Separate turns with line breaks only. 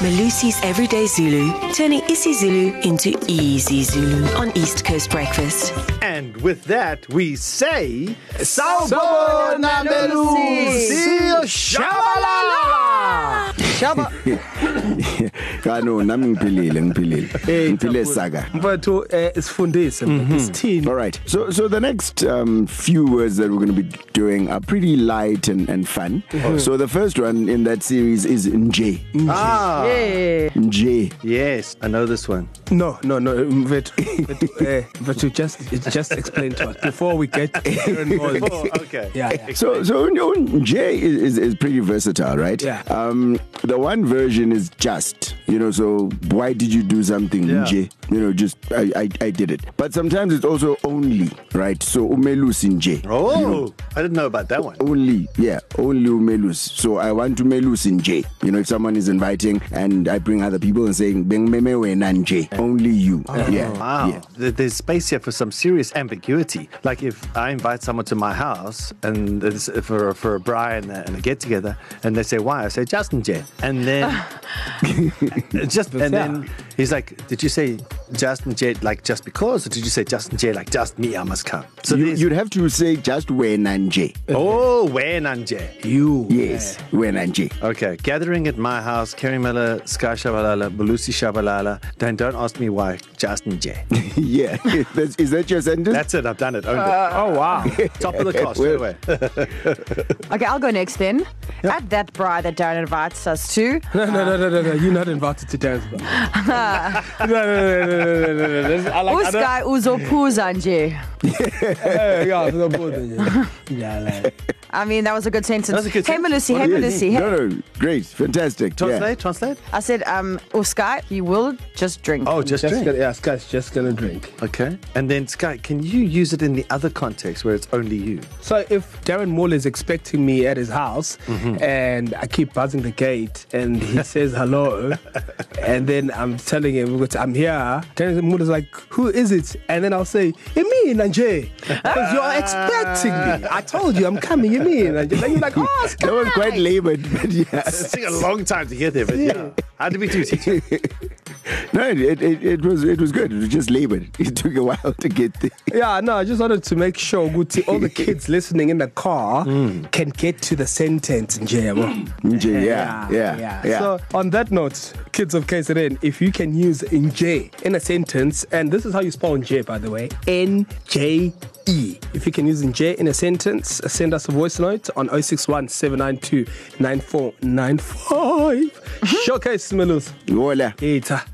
Malusi's Everyday Zulu, turning isiZulu into easy Zulu on East Coast Breakfast.
And with that, we say
Sawubona Melusi.
shabalala.
Shaba
Ka no nami ngiphilile ngiphilile. Ngiphile saga.
Mfethu eh, isifundise mfethu
All
sithini?
right. So so the next um few words that we're going to be doing are pretty light and and fun.
Uh-huh.
Mm-hmm. So the first one in that series is nje.
Ah.
Nje.
Yes, I know this one.
No no no mfethu mfethu eh mfethu just just explain to us before we get Aaron Moles.
Oh, okay.
Yeah, yeah.
So so nje is is, is pretty versatile, right?
Yeah.
Um the one version is just, you know, so why did you do something
Yeah.
yeah. nje? You know, just I, I I did it. But sometimes it's also only, right? So umelusi nje.
Oh, I didn't know about that one.
only yeah only umelusi so i want to melusi nje you know if someone is inviting and i bring other people and saying bengmeme wena nje only you oh, yeah
Wow,
yeah
yeah. there's space here for some serious ambiguity. Like if I invite someone to my house and it's for for a bri and a, and a get together, and they say why, I say Justin J, and then just and then he's like, did you say Justin J like just because, or did you say Justin J like just me? I must come. So
so you,
there's,
you'd have to say just wena nje
oh, when and J.
You
yes wena nje
Okay, gathering at my house, Kerry Miller, Sky Shabalala, Belusi Shabalala. Then don't ask me why, Justin J.
yeah That's, is that your sentence
That's it, I've done it. Owned uh,
Oh wow.
it. Top of the class, straight away.
Okay, I'll go next then. Yep. At that bride that Darren invites us to.
No no no no no no you're not invited to dance. bro. no no no no no no no. no. This- I like I don't-
Uskai uzophuza nje.
Eh, yeah, no more than you. Yeah, like
I mean, that was a good sentence.
That was a good
hey,
sentence.
Malusi,
What
hey,
do you
Malusi. Hey.
no no great fantastic
Translate, yeah. translate.
I said, um, Uskai, you will just drink.
Oh, just, just
just
drink.
gonna,
Gonna,
yeah, Scott's just going to drink.
okay. And then Sky, can you use it in the other context where it's only you?
So if Darren Moore is expecting me at his house mm-hmm. and I keep buzzing the gate and he says hello and then I'm telling him "Look, I'm here, Darren Moore is like, who is it? And then I'll say, Emi Nanje, because you're expecting me. I told you I'm coming, Emi Nanje. And you're like, oh, it's
yeah that was quite labored but yes
It's taking a long time to get there, but yeah. How did we do, teacher?
no it, it it was it was good it was just labored it took a while to get there
Yeah, no, I just wanted to make sure Guti, all the kids listening in the car mm. can get to the sentence, Njebo.
nje yeah yeah yeah, yeah.
So on that note, kids of KZN, if you can use NJ in a sentence, and this is how you spell NJ, by the way, N J E. If you can use NJ in a sentence, uh, send us a voice note on 061 792 9495. Showcase Smelus.
Hola.
Eta.